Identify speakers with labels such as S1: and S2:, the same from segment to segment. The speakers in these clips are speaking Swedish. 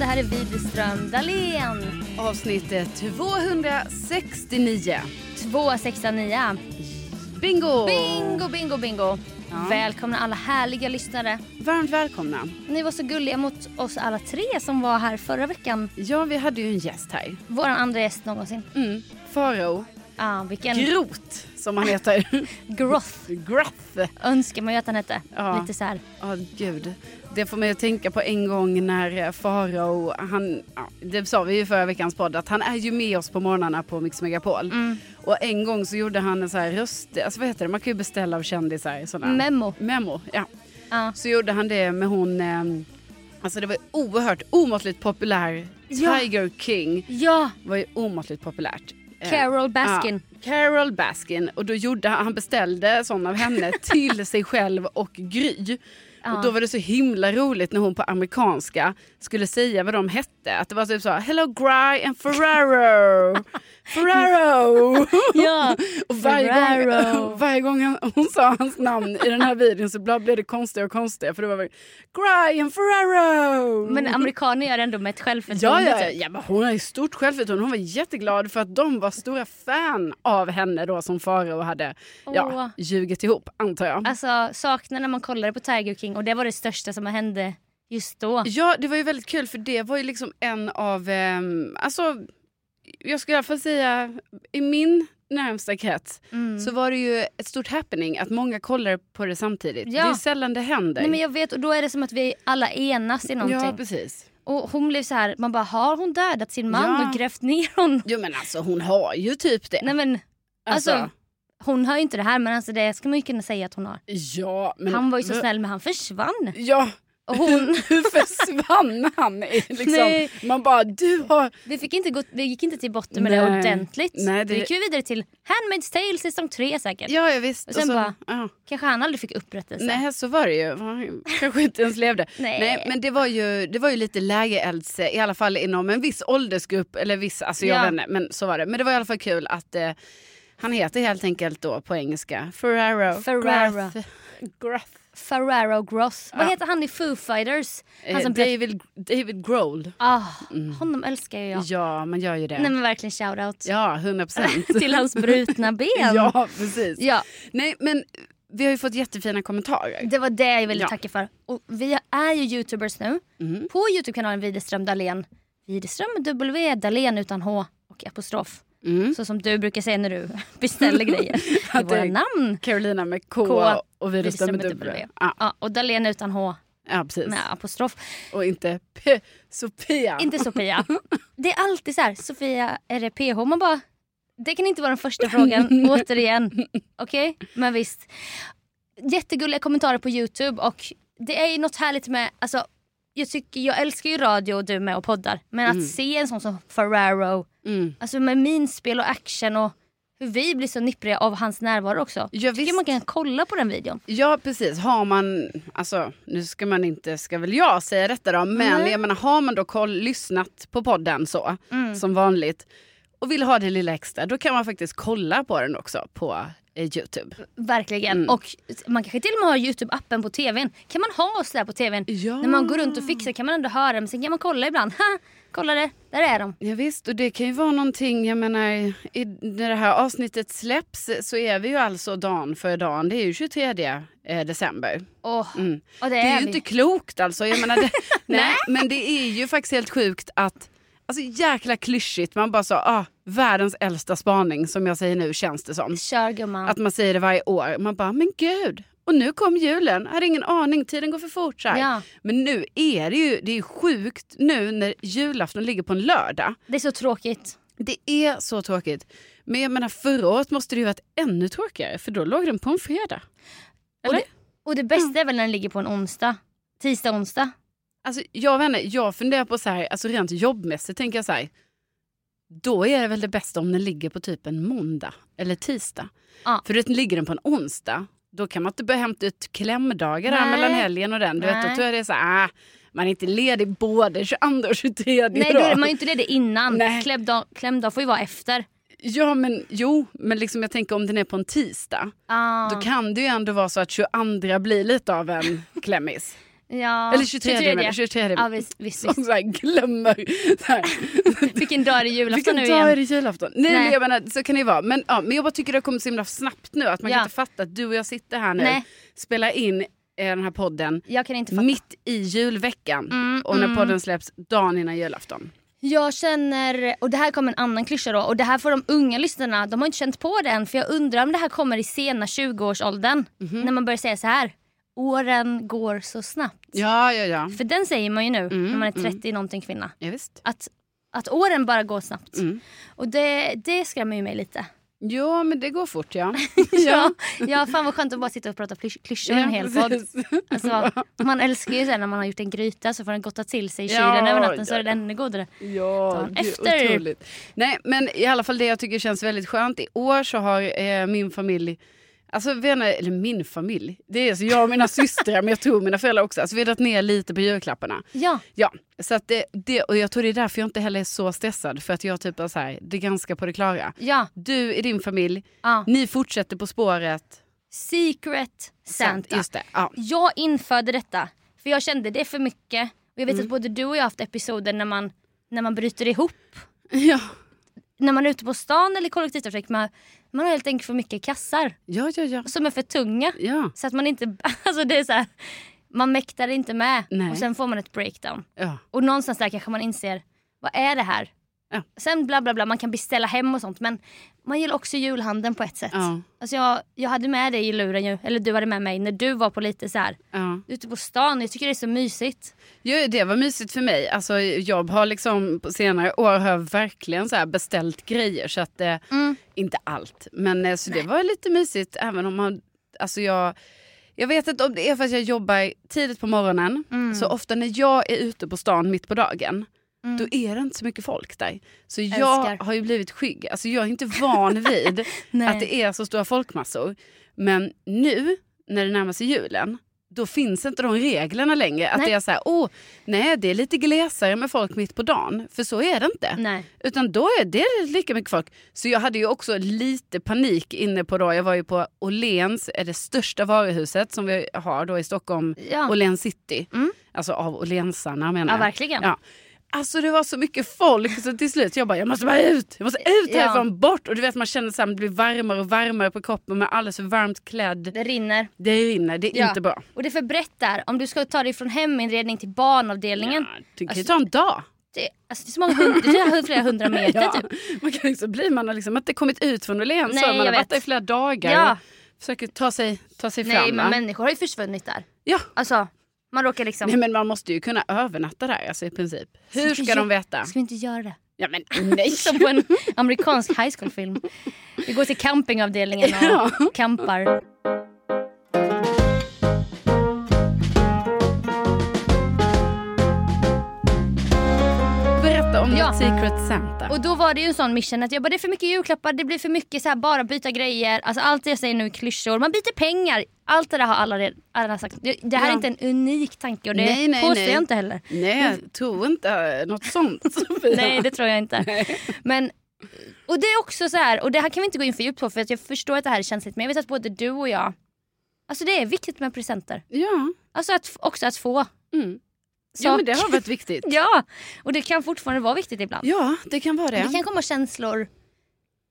S1: här är Widerström Dahlén.
S2: Avsnittet 269.
S1: 269.
S2: Bingo!
S1: Bingo, bingo, bingo.
S2: Ja.
S1: Välkomna alla härliga lyssnare.
S2: Varmt välkomna.
S1: Ni var så gulliga mot oss alla tre som var här förra veckan.
S2: Ja, vi hade ju en gäst här.
S1: Vår andra gäst någonsin.
S2: Mm. Farao.
S1: Ja, vilken
S2: Grot, som han heter.
S1: groth
S2: Gruff.
S1: önskar man ju att han hette.
S2: Ja.
S1: Lite så här.
S2: Ja, gud. Det får mig att tänka på en gång när eh, Farao, han, ja, det sa vi ju i förra veckans podd, att han är ju med oss på morgnarna på Mix Megapol.
S1: Mm.
S2: Och en gång så gjorde han en så här röst, alltså vad heter det, man kan ju beställa av kändisar. Sådana.
S1: Memo.
S2: Memo, ja.
S1: Ja.
S2: Så gjorde han det med hon, eh, alltså det var ju oerhört, omåttligt populär.
S1: Ja.
S2: Tiger King
S1: Ja,
S2: var ju omåttligt populärt. Eh,
S1: Carol Baskin.
S2: Ja, Carol Baskin. Och då gjorde han, han beställde sån av henne till sig själv och Gry.
S1: Ja.
S2: Och då var det så himla roligt när hon på amerikanska skulle säga vad de hette. Att det var typ så här, Hello Gry and Ferraro. Ferraro.
S1: Ja,
S2: och varje
S1: Ferraro.
S2: gång, varje gång han, hon sa hans namn i den här videon så ibland blev det konstigare och konstigare. För det var väl Gry and Ferraro.
S1: Men amerikaner gör det ändå med ett
S2: Ja,
S1: självförtroende.
S2: ja,
S1: typ.
S2: ja men hon har ju stort självförtroende. Hon var jätteglad för att de var stora fan av henne då som Farao hade
S1: Åh.
S2: ja, ljugit ihop, antar jag.
S1: Alltså saknar när man kollade på Tiger King och det var det största som hände just då.
S2: Ja, det var ju väldigt kul för det var ju liksom en av, ehm, alltså jag skulle i alla fall säga i min närmsta krets
S1: Mm.
S2: så var det ju ett stort happening att många kollar på det samtidigt.
S1: Ja.
S2: Det är sällan det händer.
S1: Nej men jag vet och då är det som att vi alla enas i någonting.
S2: ja, precis.
S1: och hon blev så här, man bara har hon dödat sin man
S2: Ja.
S1: och grävt ner honom?
S2: Jo men alltså hon har ju typ det.
S1: Nej men alltså, hon har ju inte det här men alltså det ska man ju kunna säga att hon har.
S2: ja, men,
S1: Han var ju så snäll men han försvann.
S2: Ja,
S1: Och hon,
S2: Hur försvann han? i,
S1: Nej.
S2: Liksom. Man bara, du har...
S1: vi, fick inte gå, vi gick inte till botten med det
S2: Nej.
S1: ordentligt.
S2: Nej, det-
S1: Då gick vi vidare till Handmaid's Tale säsong 3 säkert.
S2: Ja, ja visst.
S1: Och sen bara-
S2: ja.
S1: Kanske han aldrig fick upprättelse.
S2: Nej, så var det ju. Han Kanske inte ens levde.
S1: Nej.
S2: men det var ju, det var ju lite lägerelds, i alla fall inom en viss åldersgrupp. Eller viss, alltså jag
S1: Ja.
S2: vet inte, men så var det. Men det var i alla fall kul att eh, han heter helt enkelt då på engelska Ferraro.
S1: Ferraro.
S2: Gruff. Gruff.
S1: Ferraro Gross. Vad
S2: Ja.
S1: heter han i Foo Fighters? Han
S2: Eh,
S1: som blev...
S2: David, David Grohl.
S1: Ah, Honom älskar ju jag.
S2: Ja, man gör ju det.
S1: Nej men verkligen shoutout.
S2: Ja, 100 procent.
S1: till hans brutna ben.
S2: Ja, precis.
S1: Ja,
S2: Nej, men vi har ju fått jättefina kommentarer.
S1: det var det jag ville
S2: Ja.
S1: tacka för. Och vi är ju youtubers nu.
S2: Mm.
S1: På Youtube-kanalen Widerström Dahlén. Widerström med W, Dahlén utan H och apostrof.
S2: Mm.
S1: Så som du brukar säga när du beställer grejer. Det är
S2: Att det
S1: våra
S2: är
S1: namn.
S2: Carolina med K,
S1: K,
S2: och Widerström med
S1: Widerström med
S2: W.
S1: W.
S2: Ja,
S1: Ja, och Dahlén utan H
S2: ja, precis.
S1: med apostrof.
S2: Och inte P, Sofia.
S1: Inte Sofia. Det är alltid så här, Sofia, är det PH? Man bara, det kan inte vara den första frågan återigen. Okej, men visst. Jättegulliga kommentarer på Youtube och det är ju något härligt med, alltså jag, tycker, jag älskar ju radio och du med och poddar. Men att se en sån som Ferraro,
S2: Mm.
S1: alltså med minspel och action och hur vi blir så nippriga av hans närvaro också.
S2: Ja,
S1: tycker
S2: visst.
S1: man kan kolla på den videon.
S2: Ja, precis. Har man, alltså nu ska man inte, ska väl jag säga detta då, men
S1: Nej.
S2: jag menar har man då koll, lyssnat på podden så,
S1: Mm.
S2: som vanligt, och vill ha det lilla extra, då kan man faktiskt kolla på den också på eh, Youtube.
S1: Verkligen. Och man kanske till och med har Youtube-appen på tvn. Kan man ha oss där på tvn?
S2: Ja.
S1: När man går runt
S2: Mm.
S1: och fixar kan man ändå höra men sen kan man kolla ibland. Ha, kolla det, där är de.
S2: Ja, visst, och det kan ju vara någonting, jag menar, i, när det här avsnittet släpps så är vi ju alltså dagen för dagen, det är ju 23 eh, december.
S1: Åh,
S2: Mm.
S1: Och det,
S2: Det är
S1: är vi.
S2: ju inte klokt alltså. Jag menar, det, nej, men det är ju faktiskt helt sjukt att, alltså jäkla klyschigt, man bara sa, ah, världens äldsta spaning som jag säger nu känns det som.
S1: Kör gumman.
S2: Att man säger det varje år, man bara, men gud, och nu kom julen, jag hade ingen aning, tiden går för fort så här.
S1: Ja.
S2: Men nu är det ju, det är ju sjukt nu när julafton ligger på en lördag.
S1: Det är så tråkigt.
S2: Det är så tråkigt. Men jag menar förra året måste det ju varit ännu tråkigare för då låg den på en fredag.
S1: Och
S2: Eller?
S1: det, och det bästa är väl när den ligger på en onsdag. Tisdag, onsdag.
S2: Alltså, jag vet inte, jag funderar på så här, alltså rent jobbmässigt tänker jag så här. Då är det väl det bästa om den ligger på typ en måndag eller tisdag.
S1: Ja.
S2: För det ligger den på en onsdag, då kan man inte börja hämta ut klämdagar där
S1: Nej.
S2: mellan helgen och den. Du vet,
S1: Nej.
S2: då tror jag det är så här, ah, man är inte ledig både 22 och 23
S1: Nej
S2: då.
S1: då är man ju inte ledig innan.
S2: Nej.
S1: Klämdag, klämdag får ju vara efter.
S2: Ja men jo, men liksom jag tänker om den är på en tisdag,
S1: Ah.
S2: då kan det ju ändå vara så att 22 blir lite av en klämmis.
S1: Ja,
S2: Eller 23, 23. menar 23.
S1: Ja, visst, visst,
S2: Som
S1: visst.
S2: så här glömmer. Så här.
S1: Vilken dag är det julafton
S2: Vilken
S1: nu
S2: dag
S1: igen?
S2: är det julafton? Nej,
S1: Nej.
S2: Men jag menar, så kan det ju vara. Men, ja, men jag bara tycker det har kommit så himla snabbt nu att man
S1: Ja.
S2: kan inte fatta att du och jag sitter här nu,
S1: Nej.
S2: spelar in eh, den här podden
S1: Jag kan inte fatta.
S2: mitt i julveckan
S1: Mm,
S2: och när
S1: mm.
S2: podden släpps dagen innan julafton.
S1: Jag känner, och det här kommer en annan klyscha då, och det här får de unga lyssnarna, de har inte känt på den för jag undrar om det här kommer i sena 20-årsåldern.
S2: Mhm.
S1: När man börjar säga så här, åren går så snabbt.
S2: Ja, ja, ja.
S1: För den säger man ju nu
S2: Mm,
S1: när man är
S2: mm.
S1: 30 någonting kvinna.
S2: ja visst.
S1: Att, att åren bara går snabbt.
S2: Mm.
S1: Och det, det skrämmer ju mig lite.
S2: Ja, men det går fort ja.
S1: Ja, ja fan vad skönt att bara sitta och prata klysch- klyschor en hel podd.
S2: precis.
S1: Alltså, man älskar ju sen när man har gjort en gryta så får den gottat till sig i kylen
S2: Ja,
S1: över natten så
S2: ja,
S1: är den ännu godare.
S2: Ja,
S1: Dagen
S2: det är
S1: efter.
S2: otroligt. Nej, men i alla fall det jag tycker känns väldigt skönt. I år så har eh, min familj, alltså vi har, eller min familj, det är så jag och mina systrar, men jag tror mina föräldrar också, alltså vi har dragit ner lite på julklapparna.
S1: Ja,
S2: Ja, så att det, det, och jag tror det är därför jag inte heller är så stressad, för att jag typ är så här, det är ganska på det klara.
S1: ja,
S2: Du i din familj,
S1: ja.
S2: ni fortsätter På spåret.
S1: Secret Santa.
S2: Just det, ja.
S1: Jag införde detta för jag kände det är för mycket. Och jag vet
S2: Mm.
S1: att både du och jag har haft episoder när man, när man bryter ihop.
S2: Ja,
S1: När man är ute på stan eller i kollektivtrafik. Man, man har helt enkelt för mycket kassar
S2: ja, ja. ja.
S1: som är för tunga.
S2: ja.
S1: Så att man inte, alltså det är så här, man mäktar inte med.
S2: Nej.
S1: Och sen får man ett breakdown.
S2: ja.
S1: Och någonstans där kanske man inser, vad är det här?
S2: Ja.
S1: Sen bla bla bla, man kan beställa hem och sånt. Men man gillar också julhandeln på ett sätt.
S2: Ja.
S1: Alltså jag, jag hade med dig i luren ju, eller du hade med mig när du var på lite så här
S2: ja.
S1: ute på stan. Jag tycker det är så mysigt.
S2: Ja, det var mysigt för mig. Alltså, jag har liksom på senare år har jag verkligen så här beställt grejer. Så att, eh,
S1: Mm.
S2: Inte allt, men eh, så det var lite mysigt även om man... Alltså jag, jag vet inte om det är för att jag jobbar tidigt på morgonen.
S1: Mm.
S2: Så ofta när jag är ute på stan mitt på dagen,
S1: Mm.
S2: då är det inte så mycket folk där. Så jag
S1: Älskar.
S2: har ju blivit skygg. Alltså jag är inte van vid
S1: Nej.
S2: att det är så stora folkmassor. Men nu, när det närmar sig julen, då finns inte de reglerna längre. Att
S1: Nej.
S2: det är så här, åh, nej det är lite glesare med folk mitt på dagen. För så är det inte.
S1: Nej.
S2: Utan då är det lika mycket folk. Så jag hade ju också lite panik inne på då. Jag var ju på Åhléns, är det största varuhuset som vi har då i Stockholm.
S1: Ja.
S2: Åhléns city.
S1: Mm.
S2: Alltså av Åhlénsarna menar
S1: ja,
S2: jag.
S1: verkligen.
S2: Ja. Alltså det var så mycket folk så till slut jag bara jag måste bara ut, jag måste ut
S1: Ja.
S2: härifrån, bort. Och du vet man känner så här, det blir varmare och varmare på kroppen, man är alldeles för varmt klädd.
S1: Det rinner.
S2: Det rinner, det är
S1: Ja.
S2: inte bra.
S1: Och det är för brett där. Om du ska ta dig från heminredning till barnavdelningen.
S2: Ja, det kan ju
S1: Alltså-
S2: ta en dag.
S1: Det, alltså, det är så många hund, det är flera hundra meter
S2: Ja.
S1: typ.
S2: Man kan liksom bli, man har liksom inte kommit ut från Åhléns,
S1: Nej,
S2: så man
S1: jag
S2: har
S1: vet.
S2: varit där i flera dagar
S1: Ja.
S2: och försöker ta sig, ta sig
S1: Nej
S2: fram. va?
S1: men människor har ju försvunnit där.
S2: Ja.
S1: Alltså man råkar liksom...
S2: Nej men man måste ju kunna övernatta där alltså, i princip. Hur ska
S1: jag-
S2: de veta?
S1: Ska vi inte göra det?
S2: Ja men nej!
S1: Som på en amerikansk high school film. Vi går till campingavdelningen och
S2: Ja.
S1: campar.
S2: Berätta om
S1: Ja.
S2: ditt secret Santa.
S1: Och då var det ju en sån mission att jag bara det är för mycket julklappar, det blir för mycket så här bara byta grejer. Alltså allt det jag säger nu är klyschor. Man byter pengar. Allt det där har alla redan, alla sagt. Det det här är
S2: Ja.
S1: inte en unik tanke och det
S2: Nej, nej,
S1: påstår
S2: nej.
S1: jag inte heller.
S2: Nej, jag tror inte eh, något sånt. Sofia.
S1: Nej det tror jag inte. Men, och det är också så här, och det här kan vi inte gå in för djupt på för att jag förstår att det här är känsligt men jag vet att både du och jag, alltså det är viktigt med presenter.
S2: Ja.
S1: Alltså att, också att få.
S2: Mm.
S1: saker.
S2: ja, men det har varit viktigt.
S1: Ja, och det kan fortfarande vara viktigt ibland.
S2: Ja, det kan vara det.
S1: Det kan komma känslor,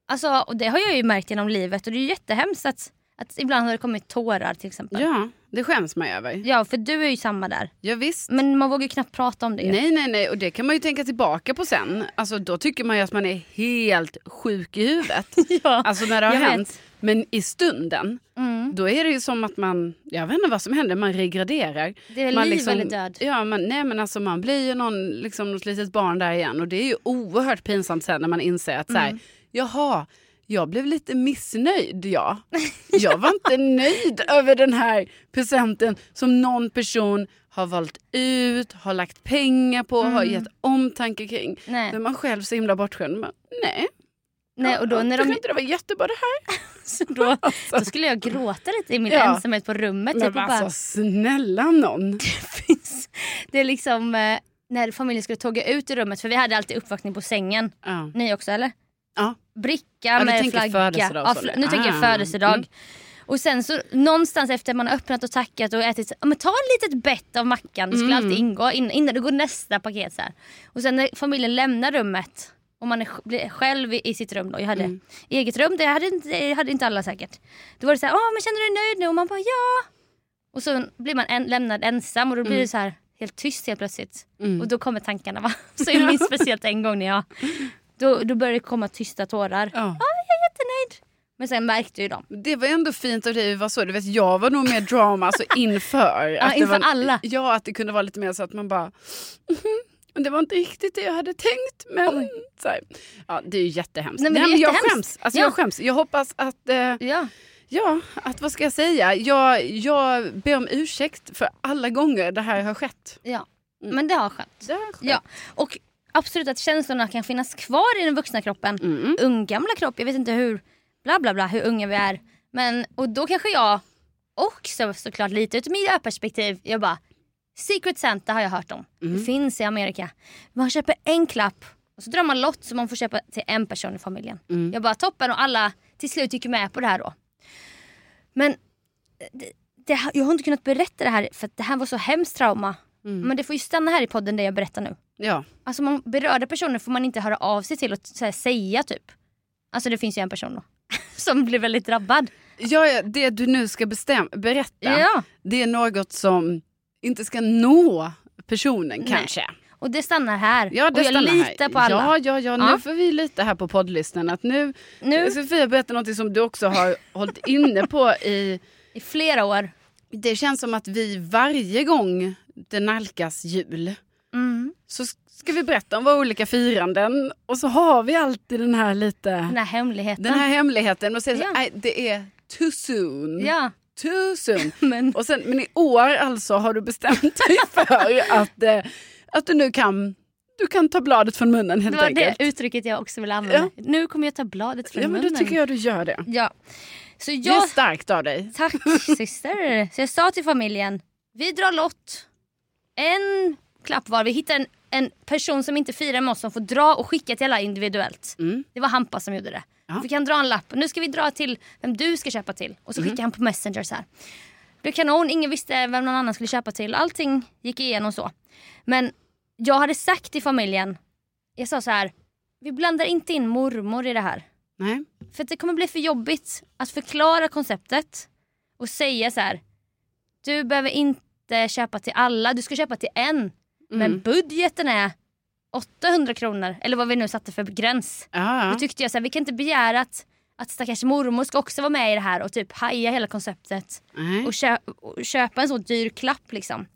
S1: alltså, och det har jag ju märkt genom livet och det är ju jättehemskt att, att ibland har det kommit tårar till exempel.
S2: Ja, det skäms man över.
S1: Ja, för du är ju samma där.
S2: Ja, visst.
S1: Men man vågar ju knappt prata om det. ju.
S2: Nej, nej, nej. Och det kan man ju tänka tillbaka på sen. Alltså, då tycker man ju att man är helt sjuk i huvudet.
S1: Ja.
S2: Alltså när det har
S1: Jag vet.
S2: hänt. Men i stunden,
S1: Mm.
S2: då är det ju som att man, jag vet inte vad som händer, man regraderar.
S1: Det är
S2: man liksom-
S1: liv eller död.
S2: Ja, man, nej men alltså man blir ju någon, liksom något litet barn där igen. Och det är ju oerhört pinsamt sen när man inser att så här, jaha, jag blev lite missnöjd jag. Jag var inte nöjd över den här presenten som någon person har valt ut, har lagt pengar på, har
S1: Mm.
S2: gett omtanke kring.
S1: Nej.
S2: Men man själv så himla bortskämd. Men, nej,
S1: Nej, och då, när
S2: jag
S1: de,
S2: tycker inte det var jättebra det här.
S1: då, då skulle jag gråta lite i min
S2: Ja.
S1: ensamhet på rummet.
S2: Men
S1: Typ, och bara,
S2: alltså snälla någon.
S1: finns. Det är liksom eh, när familjen skulle tåga ut i rummet för vi hade alltid uppvaktning på sängen.
S2: Ja.
S1: Ni också eller?
S2: Ja.
S1: Bricka
S2: du
S1: med
S2: tänker
S1: flagga.
S2: födelsedag och
S1: ja,
S2: så,
S1: fl-
S2: eller?
S1: nu tänker jag
S2: Ah.
S1: födelsedag.
S2: Mm.
S1: Och sen så någonstans efter man har öppnat och tackat och ätit, ja, men ta ett litet bett av mackan, det
S2: Mm.
S1: skulle alltid ingå in, innan det går nästa paket. Så här. Och sen när familjen lämnar rummet och man är, sj- blir själv i, i sitt rum då, jag
S2: Mm.
S1: hade eget rum, det hade, inte- det hade inte alla säkert. Då var det så här, "Ah, men känner du dig nöjd nu? Och man bara ja. Och så blir man en, lämnad ensam och då
S2: Mm.
S1: blir det så här helt tyst helt plötsligt. Och då kommer tankarna va. Så jag minns speciellt en gång när jag, då, då började det komma tysta tårar.
S2: Ja.
S1: Jättenöjd. Men sen märkte ju de.
S2: Det var ändå fint av dig att vara så. Du vet, jag var nog mer drama alltså inför.
S1: Ja,
S2: det
S1: inför
S2: var,
S1: alla.
S2: Ja, att det kunde vara lite mer så att man bara... "Mhm, Det var inte riktigt det jag hade tänkt. Men, så här, ja, det är ju jättehemskt.
S1: Nej, men det är
S2: jag
S1: jättehemskt.
S2: skäms. Alltså,
S1: Ja.
S2: jag skäms. Jag hoppas att... Eh,
S1: Ja.
S2: ja, att vad ska jag säga? Jag, jag ber om ursäkt för alla gånger det här har skett.
S1: ja. Men det har skett.
S2: Det har skett.
S1: Ja. Och absolut att känslorna kan finnas kvar i den vuxna kroppen.
S2: Mm.
S1: Unggamla kropp, jag vet inte hur bla bla bla, hur unga vi är. Men, och då kanske jag också såklart lite ur ett miljöperspektiv, jag bara Secret Santa har jag hört om. Det finns i Amerika. Man köper en klapp och så drar man lott så man får köpa till en person i familjen. Jag bara toppen och alla till slut gick ju med på det här då. Men det, jag har inte kunnat berätta det här för att det här var så hemskt trauma.
S2: Mm.
S1: Men det får ju stanna här i podden det jag berättar nu.
S2: Ja.
S1: Alltså man, berörda personer får man inte höra av sig till och så här, säga typ. Alltså det finns ju en person då. Som blir väldigt drabbad.
S2: Ja, ja, det du nu ska bestäm- berätta,
S1: Ja.
S2: det är något som inte ska nå personen kanske.
S1: Och det stannar här.
S2: Ja, det
S1: och jag
S2: stannar här.
S1: litar på alla.
S2: Ja, ja, ja. Nu
S1: Ja.
S2: får vi lita här på poddlistan. Att nu, eh,
S1: Nu?
S2: Sofia berättar något som du också har hållit inne på i...
S1: I flera år.
S2: Det känns som att vi varje gång det nalkas jul
S1: Mm.
S2: så ska vi berätta om våra olika firanden och så har vi alltid den här lite...
S1: Den här hemligheten.
S2: Den här hemligheten och säger
S1: Ja.
S2: så, nej det är too soon.
S1: Ja.
S2: Too soon.
S1: Men,
S2: Och sen, men i år alltså har du bestämt dig för att, eh, att du nu kan, du kan ta bladet från munnen helt
S1: det var
S2: enkelt.
S1: det uttrycket jag också ville använda. Nu kommer jag ta bladet från
S2: Ja men
S1: munnen.
S2: då tycker jag du gör det.
S1: Ja. Så
S2: Det är
S1: jag...
S2: starkt av dig.
S1: Tack syster. Så jag sa till familjen, vi drar lott. En klapp var. Vi hittar en, en person som inte firar med oss som får dra och skicka till alla individuellt.
S2: Mm.
S1: Det var Hampa som gjorde det.
S2: Ja.
S1: Vi kan dra en lapp. Nu ska vi dra till vem du ska köpa till. Och så skickar han på Messenger så här. Det blev kanon, ingen visste vem någon annan skulle köpa till. Allting gick igenom så. Men jag hade sagt till familjen, jag sa så här. Vi blandar inte in mormor i det här.
S2: Nej.
S1: För att det kommer bli för jobbigt att förklara konceptet och säga så här. Du behöver inte köpa till alla, du ska köpa till en.
S2: Mm.
S1: Men budgeten är 800 kronor, eller vad vi nu satte för gräns.
S2: Ja,
S1: Då tyckte jag så här, vi kan inte begära att, att stackars mormor ska också vara med i det här och typ haja hela konceptet
S2: Nej.
S1: och, kö- och köpa en så dyr klapp liksom.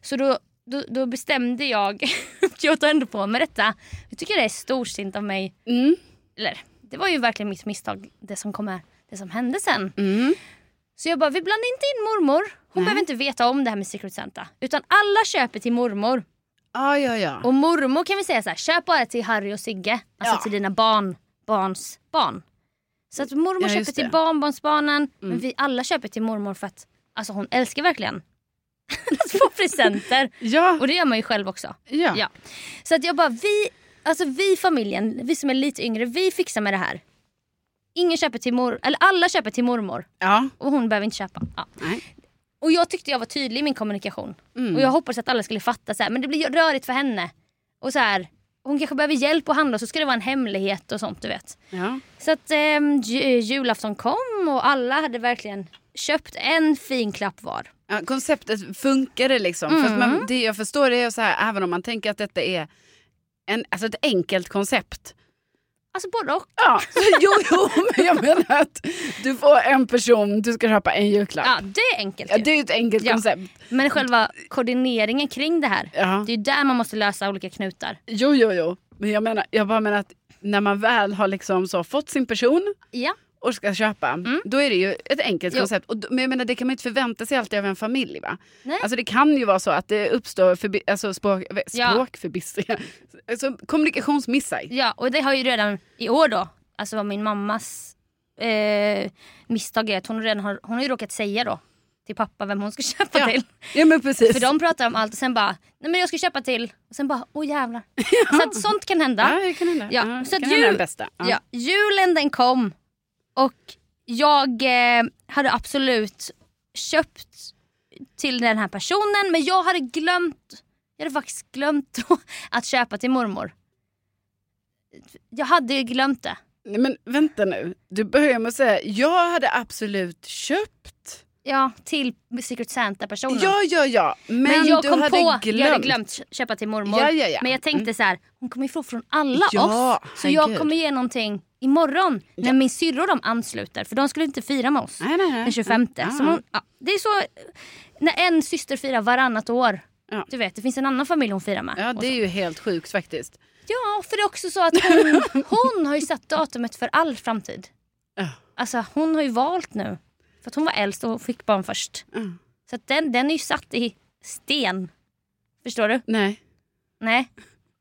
S1: Så då, då, då bestämde jag, jag tar ändå på mig detta. Jag tycker det är storsint av mig
S2: Mm.
S1: eller det var ju verkligen mitt misstag, det som, kom här, det som hände sen.
S2: Mm.
S1: Så jag bara, vi blandar inte in mormor. Hon behöver inte veta om det här med Secret Santa. Utan alla köper till mormor.
S2: Ja, ja, ja.
S1: Och mormor kan vi säga så här, köp bara till Harry och Sigge. Alltså
S2: Ja.
S1: till dina barn, barns barn. Så att mormor
S2: Ja,
S1: köper
S2: just
S1: till
S2: det. Mm.
S1: barnbarnsbarnen. Men vi alla köper till mormor för att alltså, hon älskar verkligen att få presenter.
S2: Ja,
S1: Och det gör man ju själv också.
S2: ja.
S1: Ja. Så att jag bara, vi, alltså vi familjen, vi som är lite yngre, vi fixar med det här. Ingen köper till mor, eller alla köper till mormor
S2: ja.
S1: och hon behöver inte köpa. Ja.
S2: Nej.
S1: Och jag tyckte jag var tydlig i min kommunikation.
S2: Mm.
S1: Och jag hoppades att alla skulle fatta så här, men det blir rörigt för henne. Och så här, hon kanske behöver hjälp att handla och så ska det vara en hemlighet och sånt du vet.
S2: Ja.
S1: Så att ehm, ju, julafton kom och alla hade verkligen köpt en fin klapp var.
S2: Ja, konceptet funkade liksom. För att
S1: Mm.
S2: man, det jag förstår det är så här, även om man tänker att detta är en, alltså ett enkelt koncept.
S1: Alltså både och.
S2: Ja, så, jo, jo, men jag menar att du får en person, du ska köpa en julklapp.
S1: Ja, det är enkelt
S2: Ja,
S1: ju.
S2: det är ju ett enkelt
S1: Ja.
S2: koncept.
S1: Men själva koordineringen kring det här.
S2: Ja.
S1: Det är ju där man måste lösa olika knutar.
S2: Jo, jo, jo. Men jag, menar, jag bara menar att när man väl har liksom så fått sin person
S1: Ja.
S2: och ska köpa, då är det ju ett enkelt
S1: Mm. Jo.
S2: koncept. Och, d- men jag menar, det kan man inte förvänta sig alltid av en familj. Va?
S1: Nej.
S2: Alltså, det kan ju vara så att det uppstår förbi- alltså, språk, vä-
S1: Ja.
S2: språkförbistringar, alltså, kommunikationsmissar.
S1: ja, och det har ju redan i år då, alltså var min mammas eh, misstag är att hon, redan har, hon har ju råkat säga då till pappa vem hon ska köpa
S2: Ja.
S1: till.
S2: Ja, men precis.
S1: För de pratar om allt och sen bara, nej men jag ska köpa till. Och sen bara, åh jävlar. Så att sånt kan hända.
S2: Ja, det kan hända.
S1: Ja,
S2: Ja,
S1: så
S2: det
S1: att
S2: kan hända
S1: ju-
S2: den bästa. Ja.
S1: Ja, julen den kom och jag eh, hade absolut köpt till den här personen men jag hade glömt, jag hade faktiskt glömt att köpa till mormor. Jag hade ju glömt det.
S2: Nej, men vänta nu. Du börjar med att säga jag hade absolut köpt.
S1: Ja, till Secret Santa-personen.
S2: Ja, ja, ja. Men,
S1: Men jag
S2: du
S1: kom
S2: hade
S1: på,
S2: glömt.
S1: jag hade glömt köpa till mormor.
S2: Ja, ja, ja.
S1: Men jag tänkte så här, hon kommer ifrån från alla
S2: Ja,
S1: oss. Så
S2: herregud.
S1: jag kommer ge någonting imorgon när min syrra och de ansluter. För de skulle inte fira med oss
S2: Nej, nej, nej.
S1: den 25.
S2: Ja.
S1: Så hon, ja, det är så när en syster firar varannat år.
S2: Ja.
S1: Du vet, det finns en annan familj hon firar med.
S2: Ja,
S1: Och
S2: det är ju helt sjukt faktiskt.
S1: Ja, för det är också så att hon, hon har ju satt datumet för all framtid.
S2: Ja.
S1: Alltså hon har ju valt nu. För att hon var äldst och hon fick barn först.
S2: Ja.
S1: Så att den, den är ju satt i sten. Förstår du?
S2: Nej.
S1: Nej.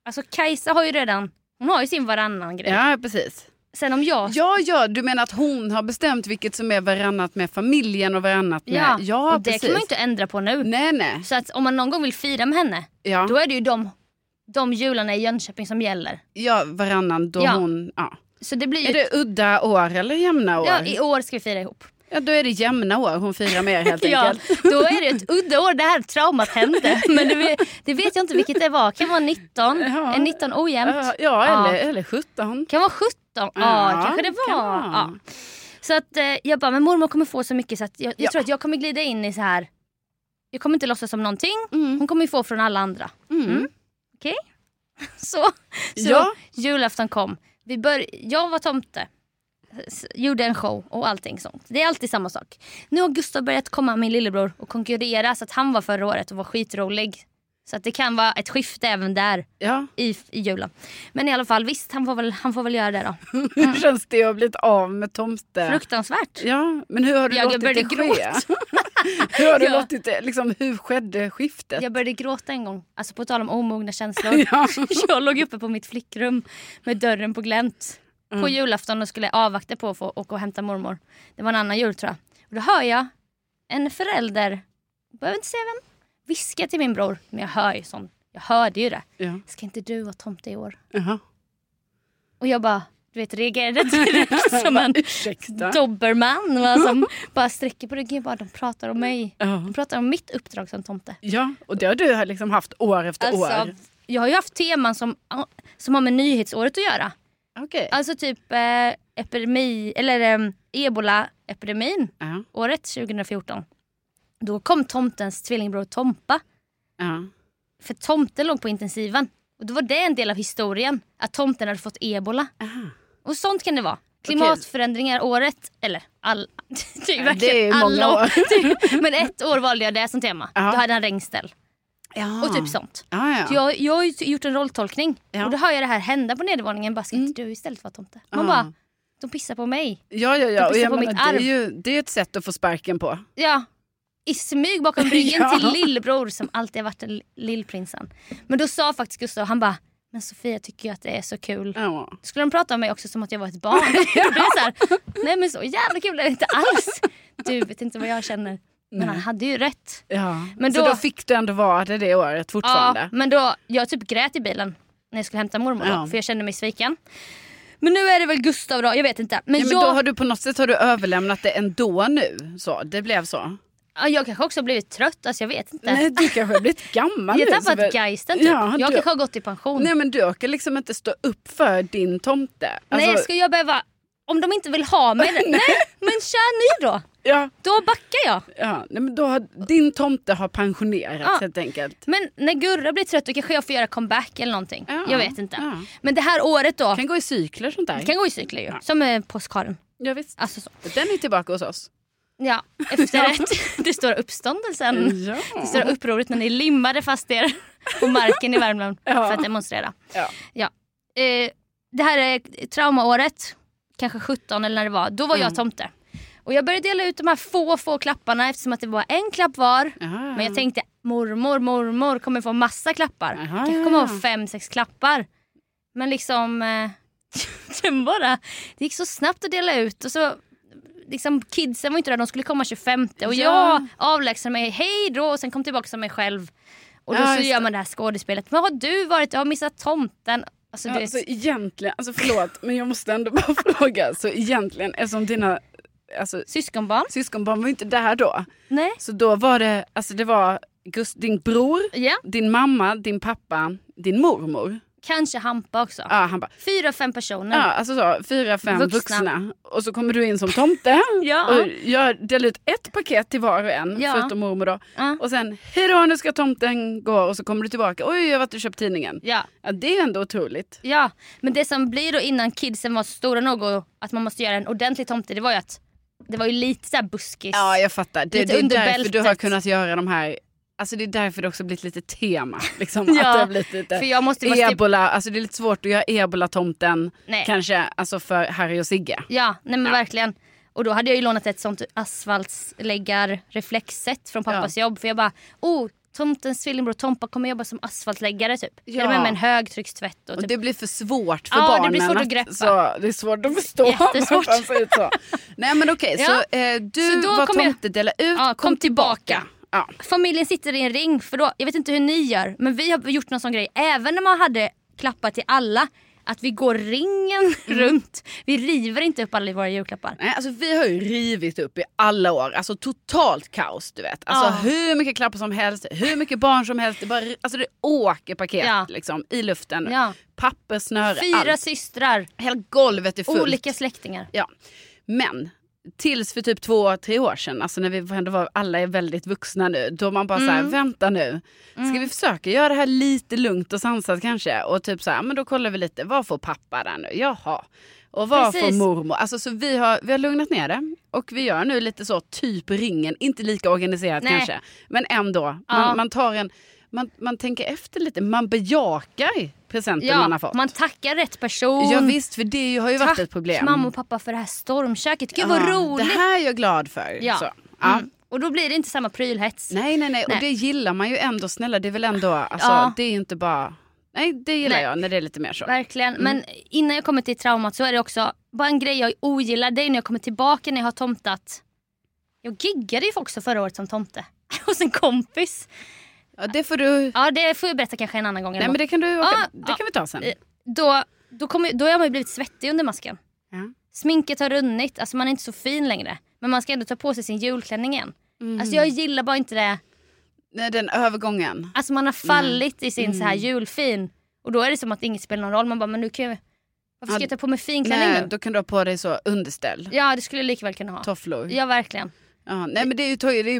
S1: Alltså Kajsa har ju redan, hon har ju sin varannan grej.
S2: Ja, precis.
S1: Sen om jag...
S2: Ja, ja, du menar att hon har bestämt vilket som är varannat med familjen och varannat med...
S1: Ja,
S2: ja
S1: och det
S2: precis.
S1: kan man ju inte ändra på nu.
S2: Nej, nej.
S1: Så att om man någon gång vill fira med henne,
S2: Ja,
S1: då är det ju de, de jularna i Jönköping som gäller.
S2: ja varannan då
S1: Ja.
S2: hon... Ja.
S1: Så det blir ju...
S2: Är det udda år eller jämna år?
S1: ja, I år ska vi fira ihop.
S2: Ja, då är det jämna år hon firar med er helt
S1: Ja,
S2: enkelt.
S1: då är det ett udda år det här traumat hände. Men det, vet- det vet jag inte vilket det var. Kan vara 19,
S2: Ja.
S1: är 19 ojämnt?
S2: Ja, ja, eller,
S1: Ja.
S2: eller 17.
S1: Kan vara 17, ja, kanske det
S2: kan
S1: var.
S2: vara.
S1: Ja. Så att eh, jag bara, men mormor kommer få så mycket så att jag, jag
S2: Ja.
S1: tror att jag kommer glida in i så här. Jag kommer inte låtsas som någonting. Hon kommer ju få från alla andra.
S2: Mm.
S1: Så, så
S2: Ja.
S1: julafton kom. Vi bör, jag var tomte. S- Gjorde en show och allting sånt. Det är alltid samma sak. Nu har Gustav börjat komma, min lillebror, och konkurrera. Så att han var förra året och var skitrolig. Så att det kan vara ett skifte även där
S2: Ja.
S1: i, i julen. Men i alla fall, visst han får väl, han får väl göra det då.
S2: Hur känns det att ha blivit av med tomte?
S1: Fruktansvärt.
S2: Ja, men hur har du
S1: Jag
S2: låtit
S1: började
S2: det ske?
S1: gråta.
S2: hur har du
S1: Ja.
S2: låtit det, liksom, hur skedde skiftet?
S1: Jag började gråta en gång. Alltså på tal om omogna känslor.
S2: Ja.
S1: Jag låg uppe på mitt flickrum med dörren på glänt på julafton och skulle avvakta på att få åka och hämta mormor. Det var en annan jul tror jag. Och då hör jag en förälder, jag behöver inte säga vem, viska till min bror. Men jag hör ju sån, jag hörde ju det.
S2: Ja.
S1: Ska inte du vara tomte i år?
S2: Jaha.
S1: Och jag bara, du vet reagerade direkt som en
S2: Ursäkta.
S1: doberman va, som bara sträcker på ryggen. Jag bara, de pratar om mig.
S2: Ja.
S1: De pratar om mitt uppdrag som tomte.
S2: Ja, och det har du liksom haft år efter år.
S1: Alltså, jag har ju haft teman som, som har med nyhetsåret att göra.
S2: Okej.
S1: Alltså typ eh, epidemi, eller eh, ebola-epidemin,
S2: Ja,
S1: året 2014. Då kom tomtens tvillingbror Tompa,
S2: ja.
S1: för tomten låg på intensiven. Och då var det en del av historien, att tomten hade fått ebola.
S2: Aha.
S1: Och sånt kan det vara. Klimatförändringar året, eller all, det är ju
S2: Ja, det är ju
S1: verkligen
S2: många
S1: alla
S2: år.
S1: år. Typ. Men ett år valde jag det som tema.
S2: Ja.
S1: Då hade han regnställ
S2: Ja.
S1: och typ sånt.
S2: Ja, ja.
S1: Så jag, jag har ju gjort en rolltolkning
S2: Ja. Mm.
S1: och då hör jag det här hända på nedervåningen. Bara, ska inte du istället vara tomte? Man
S2: Ja.
S1: bara, de pissar på mig.
S2: ja, ja, ja.
S1: de
S2: Och
S1: pissar
S2: jag
S1: på
S2: menar,
S1: mitt
S2: det, är
S1: arv.
S2: ju, det är ett sätt att få sparken på.
S1: Ja. I smyg bakom ryggen
S2: Ja.
S1: till lillebror som alltid har varit den li- lillprinsen. Men då sa faktiskt Gustav, han bara “men Sofia tycker ju att det är så kul”.
S2: Ja.
S1: Skulle de prata om mig också som att jag var ett barn? Och det är så här, Nej men så jävla kul är det inte alls. Du vet inte vad jag känner. Men han hade ju rätt.
S2: Ja.
S1: Men
S2: Så
S1: då-
S2: då fick du ändå vara det det året
S1: Ja,
S2: fortfarande.
S1: men då, jag typ grät i bilen när jag skulle hämta mormor då,
S2: Ja.
S1: för jag kände mig sviken. Men nu är det väl Gustav då, jag vet inte. Men,
S2: Ja, men
S1: jag,
S2: då har du på något sätt har du överlämnat det ändå nu. Så, det blev så.
S1: ja, jag kanske också har blivit trött, alltså jag vet inte.
S2: Nej, du kanske har blivit gammal
S1: jag
S2: nu.
S1: har
S2: så väl-
S1: tappat geisten typ.
S2: Ja,
S1: jag
S2: du-
S1: kanske har gått i pension.
S2: Nej men du orkar liksom inte stå upp för din tomte.
S1: Nej
S2: Alltså,
S1: ska jag behöva, om de inte vill ha mig, nej. men kör ni då.
S2: ja,
S1: Då backar jag.
S2: ja, nej, men då har, din tomte har pensionerats
S1: Ja.
S2: helt enkelt.
S1: Men när Gurra blir trött då kanske jag får göra comeback eller någonting.
S2: Ja,
S1: Jag vet inte.
S2: ja.
S1: Men det här året då,
S2: Kan gå i cykler sånt där.
S1: det kan gå i cykler ju. Som eh, påskharen.
S2: Ja, visst.
S1: Alltså så.
S2: Den är tillbaka hos oss.
S1: Ja, efterrätt. Det står uppståndelsen.
S2: Ja.
S1: Det står upproret när ni limmade fast er på marken i Värmland
S2: Ja.
S1: för att demonstrera.
S2: Ja.
S1: Ja. Eh, det här är traumaåret, kanske 17 eller när det var. Då var jag
S2: Mm.
S1: tomte. Och jag började dela ut de här få, få klapparna eftersom att det var en klapp var.
S2: Ja.
S1: Men jag tänkte mormor, mormor kommer få massa klappar.
S2: Aha,
S1: Kanske
S2: ja,
S1: kommer
S2: ja.
S1: ha fem, sex klappar. Men liksom, eh, den bara, det gick så snabbt att dela ut. Och så, liksom, kidsen var inte där, de skulle komma 25 och
S2: Ja.
S1: jag avlägsnade mig, hej då, och sen kom tillbaka som mig själv. Och då
S2: Ja,
S1: så
S2: just
S1: gör
S2: det.
S1: man det här skådespelet. Men har du varit, jag har missat tomten. Alltså, du
S2: Ja,
S1: vet,
S2: så egentligen, alltså förlåt men jag måste ändå bara fråga. Så egentligen eftersom dina alltså,
S1: Syskonbarn?
S2: syskonbarn var ju inte där då.
S1: Nej.
S2: Så då var det, alltså det var Gust- din bror,
S1: Ja.
S2: din mamma, din pappa, din mormor.
S1: Kanske Hampa också.
S2: Ja, han bara,
S1: Fyra, fem personer.
S2: ja, alltså så, fyra, fem vuxna.
S1: Vuxna.
S2: Och så kommer du in som tomte
S1: Ja.
S2: och gör, delar ut ett paket till var och en,
S1: Ja.
S2: förutom mormor då.
S1: Ja.
S2: Och sen, hejdå nu ska tomten gå och så kommer du tillbaka. Oj, jag har varit och köpt tidningen.
S1: Ja.
S2: Ja, det är ändå otroligt.
S1: Ja, men det som blir då innan kidsen var stora nog och att man måste göra en ordentlig tomte det var ju att det var ju lite så här buskis.
S2: Ja, jag fattar. Det,
S1: Lite
S2: det är
S1: under
S2: därför du har
S1: bältet.
S2: kunnat göra de här, alltså det är därför det också blivit lite tema. Liksom,
S1: Ja,
S2: att det har blivit lite...
S1: För jag måste ju vara typ,
S2: Ebola, alltså det är lite svårt att göra ebola-tomten
S1: Nej.
S2: kanske alltså för Harry och Sigge.
S1: Ja, nej men verkligen. Och då hade jag ju lånat ett sånt asfaltsläggarreflexset från pappas jobb för jag bara oh tomtens tvillingbror Tompa kommer jobba som asfaltläggare typ.
S2: Ja.
S1: Eller med, med en högtryckstvätt och
S2: Och
S1: typ.
S2: det blir för svårt för
S1: Ja, det
S2: barnen.
S1: blir svårt att greppa.
S2: Så det är svårt att förstå
S1: Jättesvårt.
S2: varför han säger så. Nej men okej, så eh, du
S1: Så då
S2: var
S1: kom jag-
S2: tomte, dela ut,
S1: Ja, kom tillbaka.
S2: Ja.
S1: Familjen sitter i en ring för då, jag vet inte hur ni gör men vi har gjort någon sån grej även när man hade klappar till alla att vi går ringen
S2: Mm.
S1: runt. Vi river inte upp alla våra julklappar.
S2: Nej, alltså vi har ju rivit upp i alla år, alltså totalt kaos du vet. Alltså
S1: Ja.
S2: hur mycket klappar som helst, hur mycket barn som helst, det, bara, alltså, det åker paket
S1: Ja.
S2: liksom, i luften.
S1: Ja.
S2: Papper, snöre,
S1: Fyra
S2: allt.
S1: systrar,
S2: Hela golvet är fullt.
S1: olika släktingar.
S2: Ja. Men tills för typ två, tre år sedan, alltså när vi ändå var, alla är väldigt vuxna nu, då man bara så
S1: Mm.
S2: såhär, vänta nu, ska vi försöka göra det här lite lugnt och sansat kanske? Och typ såhär, men då kollar vi lite, vad får pappa där nu? Jaha. Och vad får
S1: Precis.
S2: mormor? Alltså så vi har, vi har lugnat ner det. Och vi gör nu lite så, typ ringen, inte lika organiserat
S1: Nej.
S2: kanske. Men ändå, man,
S1: Ja.
S2: man tar en, man, man tänker efter lite, man bejakar presenten man har
S1: Ja,
S2: fått.
S1: man tackar rätt person.
S2: Ja, visst, för det har ju varit
S1: Tack
S2: ett problem.
S1: mamma och pappa för det här stormköket. Gud
S2: Ja,
S1: vad roligt.
S2: Ah, Det här är jag glad för.
S1: Ja.
S2: Så. Ja.
S1: Mm. Och då blir det inte samma prylhets.
S2: Nej, nej, nej. Och
S1: Nej.
S2: det gillar man ju ändå. Snälla, det är väl ändå... Alltså,
S1: Ja.
S2: Det är ju inte bara... Nej, det gillar
S1: Nej.
S2: jag när det är lite mer så.
S1: Verkligen. Men innan jag kommer till traumat så är det också bara en grej jag ogillar. Det är när jag kommer tillbaka när jag har tomtat. Jag giggade ju också förra året som tomte. Hos en kompis.
S2: Ja, det får du...
S1: Ja det får jag berätta kanske en annan gång.
S2: Nej, men det kan du...
S1: Ja,
S2: Det
S1: ja.
S2: kan vi ta sen.
S1: Eh, Då, då, kommer, då har man ju blivit svettig under masken.
S2: Ja.
S1: Sminket har runnit, alltså man är inte så fin längre. Men man ska ändå ta på sig sin julklänning igen. Alltså jag gillar bara inte det.
S2: Mm. Nej, den övergången.
S1: Alltså man har fallit i sin
S2: Mm.
S1: så här julfin. Och då är det som att inget spelar någon roll. Man bara, men nu kan jag... Varför ska
S2: Ja,
S1: jag ta på mig finklänning
S2: Nej,
S1: nu?
S2: då kan du ha på dig så underställ.
S1: Ja det skulle jag lika väl kunna ha.
S2: Tofflor.
S1: Ja verkligen.
S2: Ja, nej men det är, ju, det är ju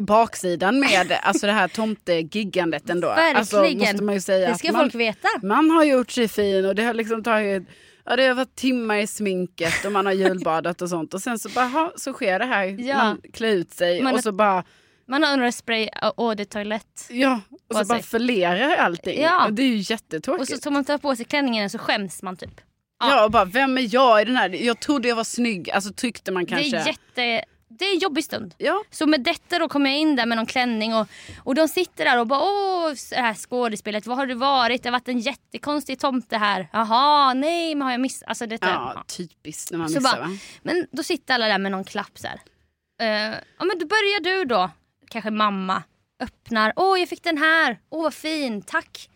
S2: baksidan med alltså det här tomtegiggandet ändå. Alltså,
S1: Verkligen.
S2: måste man ju säga.
S1: Det
S2: att
S1: ska
S2: man,
S1: folk veta.
S2: Man har gjort sig fin och det har liksom tagit Ja, det har varit timmar i sminket och man har julbadat och sånt. Och sen så bara, ha, så sker det här.
S1: Ja.
S2: Man klär ut sig
S1: Man-
S2: och så bara,
S1: Man har under spray och det toalett.
S2: ja, och så
S1: Vad
S2: bara
S1: säg.
S2: förlerar allting.
S1: Ja.
S2: Och det är ju jättetråkigt.
S1: Och så tar man tar på sig klänningen så skäms man typ.
S2: ja. och bara, vem är jag i den här? Jag trodde jag var snygg. Alltså tyckte man kanske.
S1: Det är jätte... Det är en jobbig stund.
S2: Ja,
S1: Så med detta då kommer jag in där med någon klänning och, och de sitter där och bara åh det här skådespelet, vad har du varit? Det har varit en jättekonstig tomte här. Jaha, nej men har jag missat? Alltså detta,
S2: ja typiskt när man
S1: Så
S2: missar
S1: bara-
S2: va?
S1: Men då sitter alla där med någon klapp så här. Eh, ja men då börjar du då, kanske mamma, öppnar. Åh jag fick den här, åh vad fin, tack.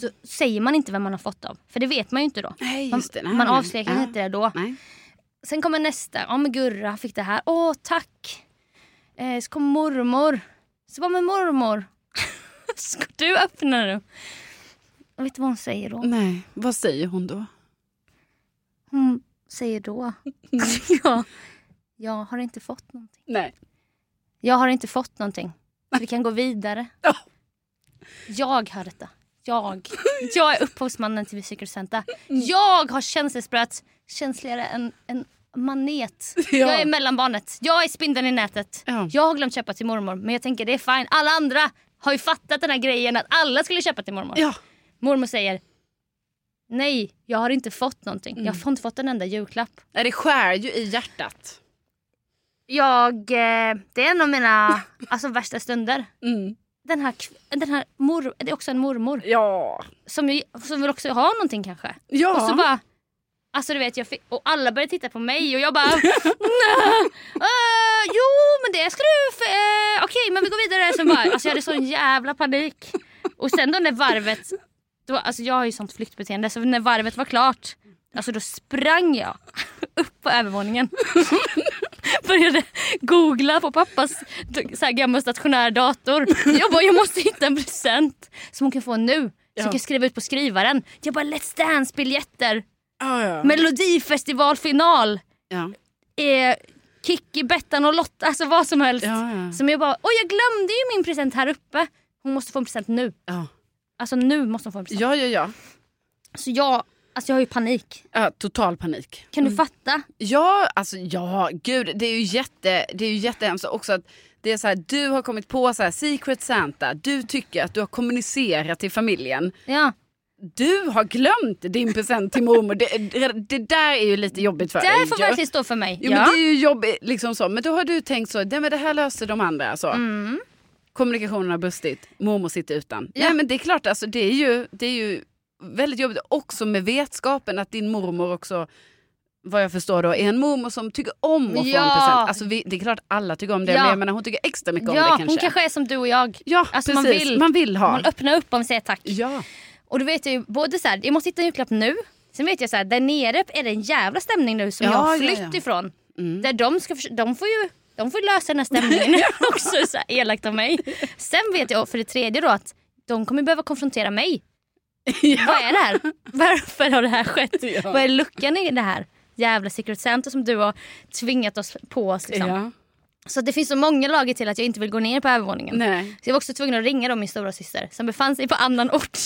S1: Så säger man inte vem man har fått av, för det vet man ju inte då.
S2: Nej,
S1: Man,
S2: just det. Nej,
S1: man
S2: nej.
S1: avslöjar kanske
S2: Ja.
S1: inte det då.
S2: Nej.
S1: Sen kommer nästa, ja men Gurra han fick det här, åh tack. Eh, så kom mormor. Så vad med mormor? Ska du öppna nu? Jag vet du vad hon säger då?
S2: nej, vad säger hon då?
S1: Hon säger då. ja, jag har inte fått någonting.
S2: Nej.
S1: Jag har inte fått någonting. Så vi kan gå vidare.
S2: Ja.
S1: Jag har detta. Jag. Jag är upphovsmannen till Secret Santa. Jag har känselspröt känsligare än en manet.
S2: Ja.
S1: Jag är mellanbarnet. Jag är spindeln i nätet.
S2: Ja.
S1: Jag har glömt köpa till mormor men jag tänker det är fine. Alla andra har ju fattat den här grejen att alla skulle köpa till mormor.
S2: Ja.
S1: Mormor säger Nej, jag har inte fått någonting. Jag
S2: Mm.
S1: har inte fått en enda julklapp.
S2: Nej, det skär ju i hjärtat.
S1: Jag, eh, det är en av mina alltså, värsta stunder. den här, kv- den här mor, det är också en mormor
S2: Ja.
S1: som, ju- som vill också ha någonting kanske.
S2: Ja.
S1: Och så bara, alltså du vet jag fick, och alla började titta på mig och jag bara nej, eh, jo men det ska du, f- eh, okej men vi går vidare. Så bara, alltså jag hade sån jävla panik. Och sen då när varvet, då, alltså jag har ju sånt flyktbeteende så när varvet var klart, alltså då sprang jag upp på övervåningen. började googla på pappas så här, gamla stationär dator. Jag bara, jag måste hitta en present som hon kan få nu. Så
S2: Ja.
S1: jag kan skriva ut på skrivaren. Jag bara, Let's Dance-biljetter,
S2: Ja, ja.
S1: melodifestivalfinal,
S2: ja.
S1: eh, Kikki, Bettan och Lotta, alltså vad som helst.
S2: Ja, ja.
S1: Som jag bara, oj jag glömde ju min present här uppe. Hon måste få en present nu.
S2: Ja.
S1: Alltså nu måste hon få en present.
S2: ja, ja, ja.
S1: Så jag, alltså jag har ju panik.
S2: Ja, total panik.
S1: Kan du fatta?
S2: Ja, alltså ja, gud. Det är ju, jätte, det är ju jättehemskt också att det är så här, du har kommit på så här, Secret Santa. Du tycker att du har kommunicerat till familjen.
S1: Ja.
S2: Du har glömt din present till mormor. Det, det- det där är ju lite jobbigt för
S1: Det
S2: dig.
S1: här får
S2: Ja.
S1: verkligen stå för mig.
S2: Jo,
S1: ja.
S2: men det är ju jobbigt. Liksom så. Men då har du tänkt så, nej, men det här löser de andra. Alltså. Kommunikationen har brustit, mormor sitter utan.
S1: Mm. Ja.
S2: Nej, men det är klart, alltså, det, är ju, det är ju väldigt jobbigt också med vetskapen att din mormor också, vad jag förstår då, är en mormor som tycker om att få en
S1: Ja.
S2: present. Alltså, vi, det är klart alla tycker om det,
S1: Ja.
S2: men jag menar, hon tycker extra mycket om
S1: ja,
S2: det kanske.
S1: hon kanske är som du och jag.
S2: Ja,
S1: Alltså, man
S2: precis.
S1: vill-
S2: ha.
S1: Man öppnar upp om man säger tack.
S2: Ja.
S1: Och då vet jag ju både så här, jag måste hitta en julklapp nu. Sen vet jag så här, där nere är det en jävla stämning nu som
S2: Ja,
S1: jag har
S2: ja,
S1: flytt
S2: ja. Mm.
S1: ifrån. Där de, ska, förs- de får ju de får ju lösa den här stämningen också. Så här, elakt av mig. Sen vet jag för det tredje då att de kommer behöva konfrontera mig. Vad är det här? Varför har det här skett?
S2: Ja.
S1: Vad är luckan i det här? Jävla Secret Santa som du har tvingat oss på oss. Liksom.
S2: ja.
S1: Så att det finns så många lager till att jag inte vill gå ner på övervåningen.
S2: Nej.
S1: Så jag var också tvungen att ringa då min stora syster som befann sig på annan ort.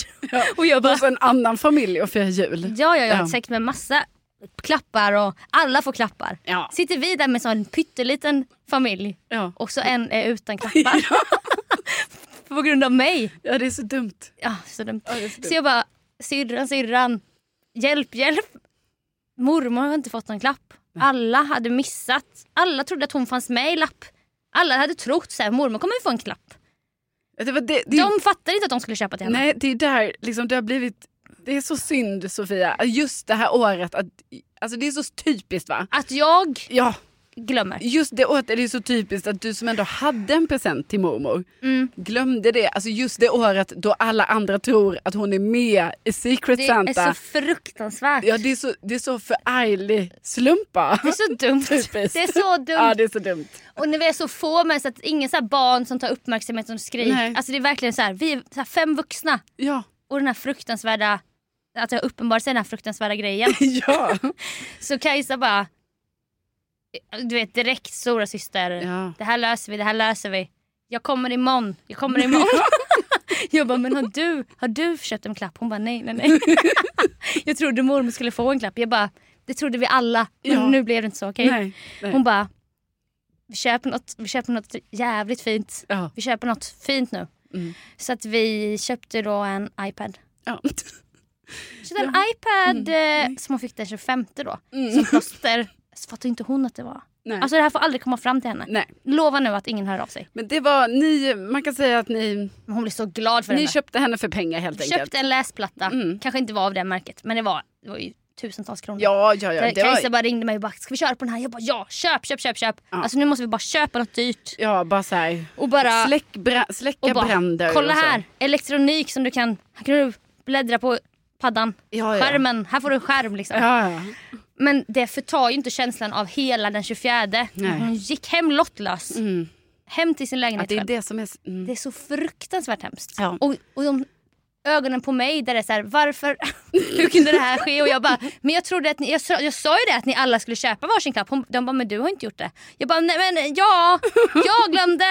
S1: Och jag bara,
S2: Hos en annan familj och fira jul.
S1: ja ja, jag
S2: Ja.
S1: har säkert med massa klappar och alla får klappar.
S2: Ja.
S1: Sitter vi där med sån pytteliten familj
S2: Ja.
S1: och så en är utan klappar. på grund av mig.
S2: ja, det är så dumt.
S1: Ja, så, den,
S2: Ja, det är så dumt.
S1: så jag bara, syrran, syrran, hjälp, hjälp. Mormor har inte fått någon klapp. Alla hade missat. Alla trodde att hon fanns med i lapp. Alla hade trott så här, mormor kommer ju få en klapp.
S2: Det var det, det,
S1: De fattade inte att de skulle köpa till henne.
S2: Mm. Nej, det är där liksom, det har blivit... Det är så synd, Sofia, just det här året. Att, alltså det är så typiskt, va?
S1: Att jag
S2: Ja,
S1: glömmer.
S2: just det året är det så typiskt att du som ändå hade en present till mormor
S1: Mm.
S2: glömde det. Alltså just det året då alla andra tror att hon är med i Secret
S1: Det
S2: Santa.
S1: är så fruktansvärt.
S2: Ja, det är så, det är så förarglig slumpa.
S1: Det är så dumt.
S2: Typiskt.
S1: Det är så
S2: Ja,
S1: dumt.
S2: det är så dumt.
S1: Och när vi är så få med så att ingen så här barn som tar uppmärksamhet som skriker.
S2: Nej.
S1: Alltså det är verkligen så här, vi är så här fem vuxna
S2: Ja.
S1: och den här fruktansvärda, att jag uppenbarligen säger den här fruktansvärda grejen.
S2: Ja.
S1: Så Kajsa bara, du vet direkt stora syster.
S2: Ja.
S1: Det här löser vi, det här löser vi. Jag kommer imorgon, jag kommer imorgon. Jag bara, men har du, har du köpt en klapp? Hon bara, nej, nej, nej. Jag trodde mormor skulle få en klapp. Jag bara, det trodde vi alla. Men
S2: Ja.
S1: nu blev det inte så, okej?
S2: Nej. nej.
S1: Hon bara, vi köper, något, vi köper något jävligt fint.
S2: Ja.
S1: Vi köper något fint nu.
S2: Mm.
S1: Så att vi köpte då en iPad.
S2: Ja.
S1: Alltså- Så den iPad eh, som hon fick den 25 då,
S2: Mm.
S1: som plåster. Så fattade inte hon att det var.
S2: Nej.
S1: Alltså det här får aldrig komma fram till henne.
S2: nej.
S1: Lova nu att ingen hör av sig.
S2: Men det var ni, man kan säga att ni,
S1: Men hon blev så glad för
S2: ni
S1: henne.
S2: köpte henne för pengar helt enkelt.
S1: Köpte en läsplatta.
S2: Mm.
S1: Kanske inte var av det märket men det var, det var ju tusentals kronor.
S2: Ja, ja, ja.
S1: Där
S2: Det
S1: Kajsa
S2: var,
S1: bara ringde mig och bara ska vi köra på den här? Jag bara ja, köp, köp, köp, köp.
S2: Ja.
S1: Alltså nu måste vi bara köpa något dyrt.
S2: ja bara så här.
S1: Och bara
S2: Släck, brä, släcka
S1: och bara,
S2: bränder.
S1: Kolla
S2: och så.
S1: här, elektronik som du kan, här kan du bläddra på paddan.
S2: Ja, ja.
S1: Skärmen, här får du en skärm liksom.
S2: Ja, ja.
S1: Men det förtar ju inte känslan av hela den 24.
S2: Nej.
S1: Hon gick hem lottlös.
S2: Mm.
S1: Hem till sin lägenhet
S2: Att det är
S1: själv.
S2: det som är... s- Mm.
S1: Det är så fruktansvärt hemskt.
S2: Ja.
S1: Och, och de ögonen på mig där det är så här, varför, hur kunde det här ske? Och jag bara, men jag trodde att ni, jag, sa- jag sa ju det att ni alla skulle köpa varsin klapp. Hon, de bara, men du har inte gjort det. Jag bara, nej men ja, jag glömde.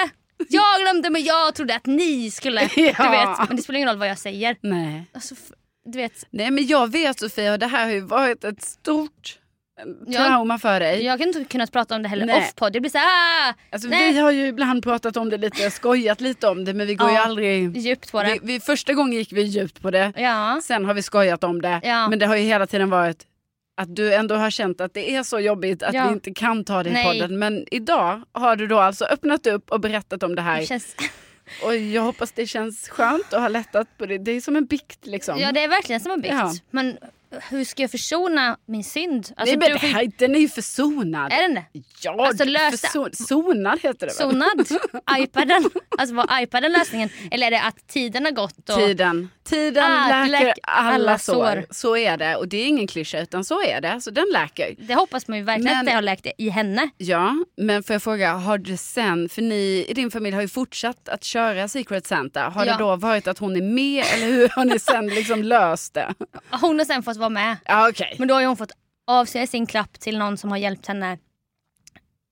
S1: Jag glömde men jag trodde att ni skulle. Du
S2: Ja.
S1: vet, men det spelar ingen roll vad jag säger.
S2: Nej.
S1: Alltså, f- du vet,
S2: Nej, men jag vet Sofia, och det här har ju varit ett stort eh,
S1: Ja.
S2: trauma för dig.
S1: jag kan inte kunnat prata om det heller
S2: Nej.
S1: off-podd. Det blir så här, ah,
S2: Alltså,
S1: Nej.
S2: vi har ju ibland pratat om det lite, skojat lite om det, men vi går
S1: Ja.
S2: ju aldrig...
S1: djupt på det.
S2: Vi, vi, första gången gick vi djupt på det,
S1: Ja.
S2: sen har vi skojat om det.
S1: Ja.
S2: Men det har ju hela tiden varit att du ändå har känt att det är så jobbigt att
S1: Ja.
S2: vi inte kan ta det i
S1: Nej.
S2: podden. Men idag har du då alltså öppnat upp och berättat om det här.
S1: Det känns,
S2: Och jag hoppas det känns skönt och har lättat på det. Det är som en bikt liksom.
S1: ja det är verkligen som en bikt.
S2: Ja.
S1: Men hur ska jag försona min synd? Alltså,
S2: Nej men
S1: du
S2: det
S1: får ju-
S2: här, den är ju försonad.
S1: Är den det?
S2: Ja,
S1: Alltså, lösa-
S2: förson, sonad heter det väl?
S1: Sonad? Ipaden? Alltså var Ipaden lösningen? Eller är det att tiden har gått? Och...
S2: Tiden. Tiden
S1: Ah,
S2: läker
S1: läk-
S2: alla,
S1: alla
S2: sår.
S1: sår.
S2: Så är det. Och det är ingen klyscha utan så är det. Så den läker.
S1: Det hoppas man ju verkligen
S2: Men-
S1: att det har läkt i henne.
S2: Ja, men får jag fråga, har det sen, för ni i din familj har ju fortsatt att köra Secret Santa. Har
S1: Ja.
S2: det då varit att hon är med eller hur har ni sen liksom löst det?
S1: Hon har sen fått vara med.
S2: Ja, okej.
S1: Men då har ju hon fått avsäga sin klapp till någon som har hjälpt henne.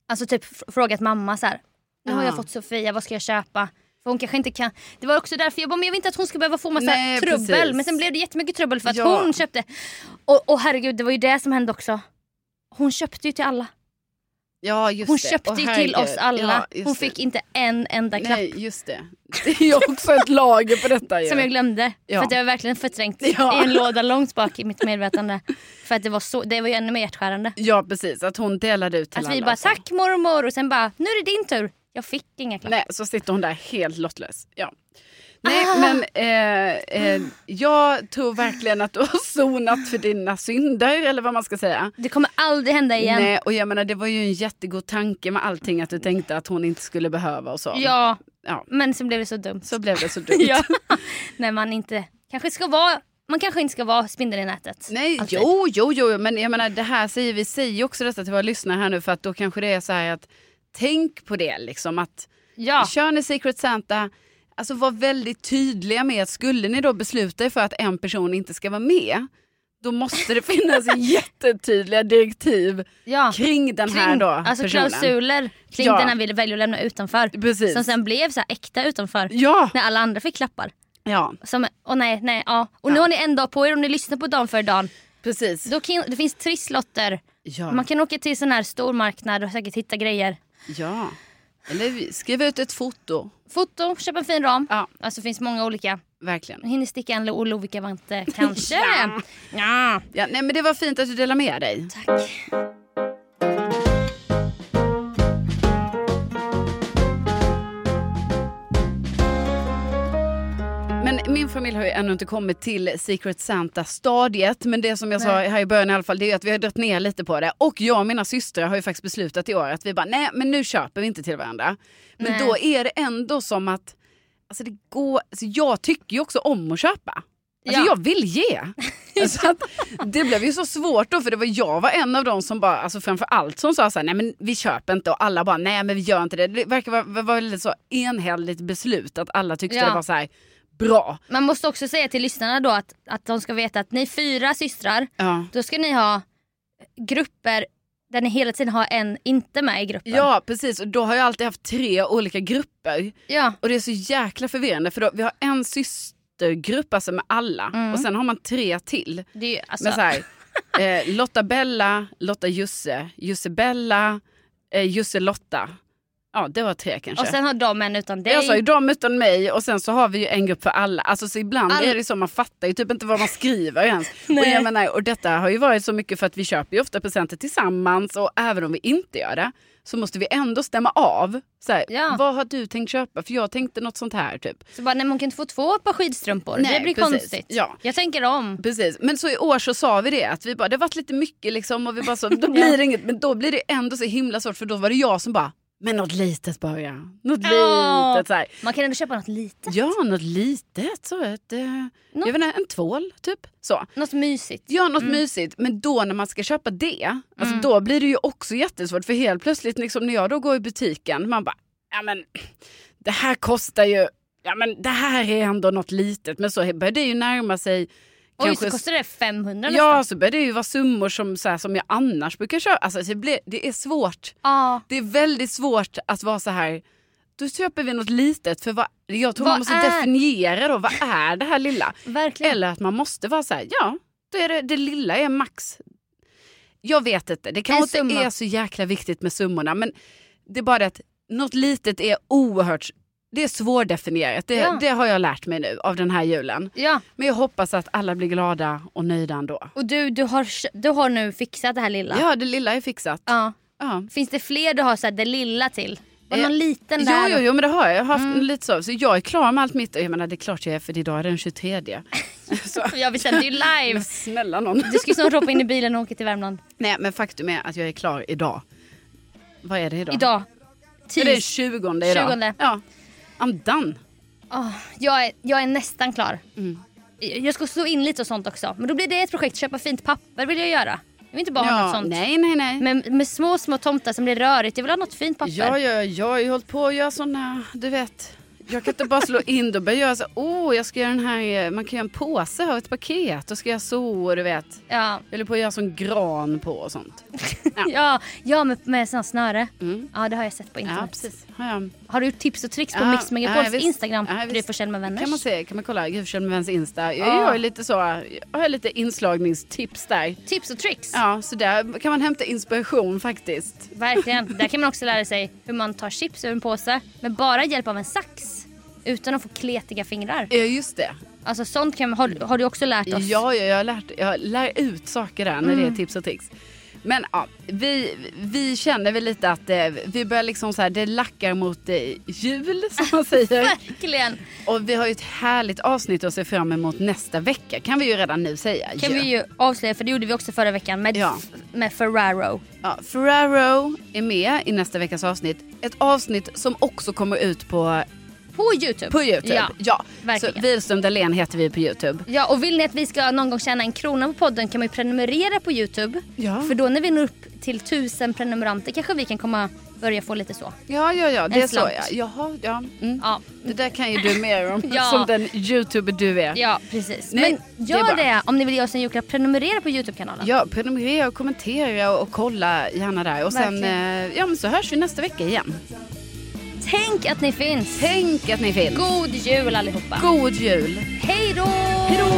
S1: Alltså typ fr- frågat mamma så här. Nu har jag
S2: Ah.
S1: fått Sofia, vad ska jag köpa? För hon kanske inte kan. Det var också därför jag bara, men jag vill inte att hon ska behöva få massa
S2: Nej,
S1: trubbel.
S2: precis.
S1: Men sen blev det jättemycket trubbel för att
S2: Ja.
S1: hon köpte. Och, och herregud, det var ju det som hände också. Hon köpte ju till alla.
S2: Ja, just
S1: Hon
S2: det.
S1: köpte
S2: Åh,
S1: ju till
S2: herregud.
S1: oss alla.
S2: Ja, just
S1: hon
S2: det.
S1: fick inte en enda klapp
S2: Nej, just det. Det är ju också ett lager på detta ju.
S1: som jag glömde.
S2: Ja.
S1: För att jag var verkligen förträngt
S2: Ja.
S1: i en låda långt bak i mitt medvetande. För att det var, så, det var ju ännu mer hjärtskärande.
S2: Ja, precis. Att hon delade ut till
S1: Att
S2: alla.
S1: vi bara
S2: alltså.
S1: tack mormor och sen bara nu är det din tur. Jag fick inga klappar.
S2: Nej, så sitter hon där helt lottlös. Ja. Nej, men eh, eh, jag tror verkligen att du har sonat för dina synder, eller vad man ska säga.
S1: Det kommer aldrig hända igen.
S2: Nej, och jag menar det var ju en jättegod tanke med allting att du tänkte att hon inte skulle behöva och så.
S1: Ja,
S2: Ja,
S1: men så blev det så dumt.
S2: så blev det så dumt.
S1: ja. När man inte kanske ska vara, man kanske inte ska vara spindeln i nätet.
S2: Nej,
S1: Alltid.
S2: jo, jo, jo, men jag menar det här säger vi säger ju också detta till våra lyssnare här nu för att då kanske det är så här att tänk på det liksom att
S1: Ja,
S2: Kör ni Secret Santa, alltså var väldigt tydliga med att skulle ni då besluta er för att en person inte ska vara med, då måste det finnas jättetydliga direktiv
S1: ja.
S2: kring den här
S1: Kring-
S2: då
S1: alltså
S2: personen.
S1: klausuler kring
S2: Ja.
S1: den här vi väljer att lämna utanför.
S2: Precis.
S1: Som sen blev så här äkta utanför.
S2: Ja,
S1: När alla andra fick klappar.
S2: ja,
S1: Som, och nej, nej, ja. Och nu har ni en dag på er om ni lyssnar på dagen för dagen.
S2: precis.
S1: Då kan, det finns trisslotter.
S2: Ja,
S1: Man kan åka till sån här stormarknad och säkert hitta grejer.
S2: ja. Eller skriv ut ett foto.
S1: Foto, köp en fin ram.
S2: Ja,
S1: Alltså det finns många olika.
S2: verkligen.
S1: Hinner sticka en Lo- Lovikka vante kanske. ja.
S2: Ja, nej, men det var fint att du delade med dig.
S1: Tack.
S2: Men min familj har ju ännu inte kommit till Secret Santa-stadiet. Men det som jag sa här i början i alla fall, det är att vi har dragit ner lite på det. Och jag och mina systrar har ju faktiskt beslutat i år att vi bara, nej men nu köper vi inte till varandra. Men
S1: Nej.
S2: då är det ändå som att, alltså det går, alltså jag tycker ju också om att köpa. Alltså
S1: Ja.
S2: jag vill ge. Alltså att, det blev ju så svårt då för det var jag var en av dem som bara, alltså framför allt som sa så här, nej men vi köper inte och alla bara nej men vi gör inte det. Det verkar vara, vara lite så enhälligt beslut att alla tyckte
S1: Ja.
S2: det var så här bra.
S1: Man måste också säga till lyssnarna då att, att de ska veta att ni är fyra systrar.
S2: Ja.
S1: Då ska ni ha grupper där ni hela tiden har en inte med i gruppen.
S2: Ja precis och då har jag alltid haft tre olika grupper
S1: ja.
S2: och det är så jäkla förvirrande för då, vi har en systergrupp alltså med alla och sen har man tre till.
S1: Det är ju, alltså,
S2: Med så här, eh, Lotta Bella, Lotta Jusse, Jusse Bella, eh, Jusse Lotta. Ja det var tre kanske.
S1: och sen har de en utan dig.
S2: jag sa ju de utan mig och sen så har vi ju en grupp för alla. Alltså så ibland
S1: All-
S2: är det så man fattar ju typ inte vad man skriver ens. och,
S1: Nej.
S2: jag menar, och detta har ju varit så mycket för att vi köper ju ofta presenter tillsammans och även om vi inte gör det så måste vi ändå stämma av. Så här,
S1: Ja.
S2: Vad har du tänkt köpa? För jag tänkte något sånt här typ.
S1: Så bara, nej, men hon kan inte få två par skidstrumpor.
S2: Nej,
S1: det blir
S2: precis.
S1: konstigt.
S2: Ja.
S1: Jag tänker om.
S2: Precis, men så i år så sa vi det att vi bara, det har varit lite mycket liksom och vi bara så, då blir det inget, men då blir det ändå så himla svårt för då var det jag som bara, men något litet bara, ja. något
S1: Ja.
S2: litet så här.
S1: Man kan ändå köpa något litet.
S2: Ja, något litet. Så ett, eh, Jag vet inte, en tvål typ. Så.
S1: Något mysigt.
S2: Ja, något mysigt. Men då när man ska köpa det,
S1: Mm.
S2: alltså, då blir det ju också jättesvårt. För helt plötsligt liksom, när jag då går i butiken, man bara, ja men det här kostar ju, ja men det här är ändå något litet. Men så börjar det ju närma sig
S1: Oj,
S2: kanske-
S1: så kostar det 500 nästan.
S2: Ja, så börjar det ju vara summor som, så här, som jag annars brukar köpa. Alltså, det, blir, det är svårt.
S1: Ja.
S2: Det är väldigt svårt att vara så här. Då köper vi något litet för vad, jag tror
S1: Vad
S2: man måste
S1: är-
S2: definiera då, vad är det här lilla?
S1: Verkligen.
S2: Eller att man måste vara så här, ja, då är det, det lilla är max. Jag vet inte, det
S1: En
S2: kanske inte
S1: summa.
S2: är så jäkla viktigt med summorna men det är bara det att något litet är oerhört, det är svårdefinierat. Det,
S1: Ja.
S2: det har jag lärt mig nu av den här julen.
S1: Ja,
S2: Men jag hoppas att alla blir glada och nöjda ändå.
S1: och du, du, har, du har nu fixat det här lilla.
S2: Ja, det lilla är fixat.
S1: Ja.
S2: Ja.
S1: Finns det fler du har så här, det lilla till? Var det
S2: Eh,
S1: någon liten
S2: Jo,
S1: där?
S2: Mm. jo, jo, men det har jag. Jag har haft lite så. Så jag är klar med allt mitt. Och Jag menar, det är klart jag är för idag är den 23. Så,
S1: Ja, vi sände ju live.
S2: men snälla någon.
S1: Du ska ju snart hoppa in i bilen och åka till Värmland.
S2: Nej men faktum är att jag är klar idag. Vad är det idag?
S1: Idag.
S2: Är det den
S1: Tis.
S2: 20 idag?
S1: 20.
S2: Ja. I'm done.
S1: Åh, jag, är, jag är nästan klar.
S2: Mm.
S1: Jag ska slå in lite och sånt också. Men då blir det ett projekt. Köpa fint papper vill jag göra. Jag vill inte bara ha något sånt.
S2: nej nej nej.
S1: Men med små, små tomtar som blir rörigt. Jag vill ha något fint papper.
S2: Ja, ja, jag har ju hållit på att göra sådana, du vet. Jag kan inte bara slå in, då börjar jag göra så, oh, jag ska göra den här, eh, man kan göra en påse av ett paket, då ska jag så, och du vet.
S1: Ja,
S2: Jag höll på att göra sån gran på och sånt. Ja.
S1: ja, ja med, med sådana snöre.
S2: Mm.
S1: Ja, det har jag sett på
S2: Ja,
S1: internet.
S2: precis. Har jag.
S1: har du tips och tricks på
S2: Ja,
S1: Mix Megapols
S2: ja, visst.
S1: Instagram?
S2: Ja,
S1: Gry
S2: visst.
S1: Forssell med vänner.
S2: Kan man se, kan man kolla, Gud Forssell med väns Insta. Jag,
S1: Ja.
S2: jag är lite så, jag har lite inslagningstips där.
S1: Tips och tricks.
S2: Ja, så där kan man hämta inspiration faktiskt.
S1: Verkligen. Där kan man också lära sig hur man tar chips ur en påse med bara hjälp av en sax. Utan att få kletiga fingrar.
S2: Ja, just det.
S1: Alltså sånt kan, har, har du också lärt
S2: Ja,
S1: oss.
S2: ja, jag, har lärt, jag lär ut saker där när det
S1: Mm.
S2: är tips och tricks. Men ja, vi, vi känner väl lite att eh, vi börjar liksom så här, det lackar mot eh, jul som man säger.
S1: Verkligen.
S2: och vi har ju ett härligt avsnitt att se fram emot nästa vecka kan vi ju redan nu säga.
S1: kan vi ju avslöja, för det gjorde vi också förra veckan med,
S2: Ja.
S1: med Ferraro.
S2: ja, Ferraro är med i nästa veckas avsnitt. Ett avsnitt som också kommer ut på,
S1: På Youtube.
S2: på Youtube.
S1: Ja.
S2: Så
S1: verkligen.
S2: Wihlström Dahlén heter vi på Youtube.
S1: Ja, och vill ni att vi ska någon gång tjäna en krona på podden kan man ju prenumerera på Youtube.
S2: Ja.
S1: För då när vi når upp till tusen prenumeranter kanske vi kan komma börja få lite så.
S2: Ja, ja, ja, det
S1: En
S2: är så.
S1: slant.
S2: Ja. Jaha, ja. Mm.
S1: Ja,
S2: Det där kan ju du mer om
S1: Ja.
S2: som den youtuber du är.
S1: ja precis.
S2: Nej,
S1: Men
S2: det är
S1: gör det,
S2: bra.
S1: om ni vill ge oss en julklapp. Prenumerera på Youtube-kanalen.
S2: Ja, prenumerera och kommentera och, och kolla gärna där. Och sen
S1: Verkligen.
S2: eh, ja, men så hörs vi nästa vecka igen.
S1: Tänk att ni finns.
S2: Tänk att ni finns.
S1: God jul allihopa.
S2: God jul.
S1: Hej då!
S2: Hej då!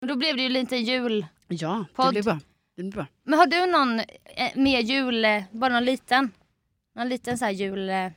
S1: Men Då blev det ju lite jul.
S2: Ja, det
S1: Podd.
S2: blir bra. Det blir bra.
S1: Men har du någon eh, mer jul, eh, bara någon liten? Någon liten så här jul... Eh,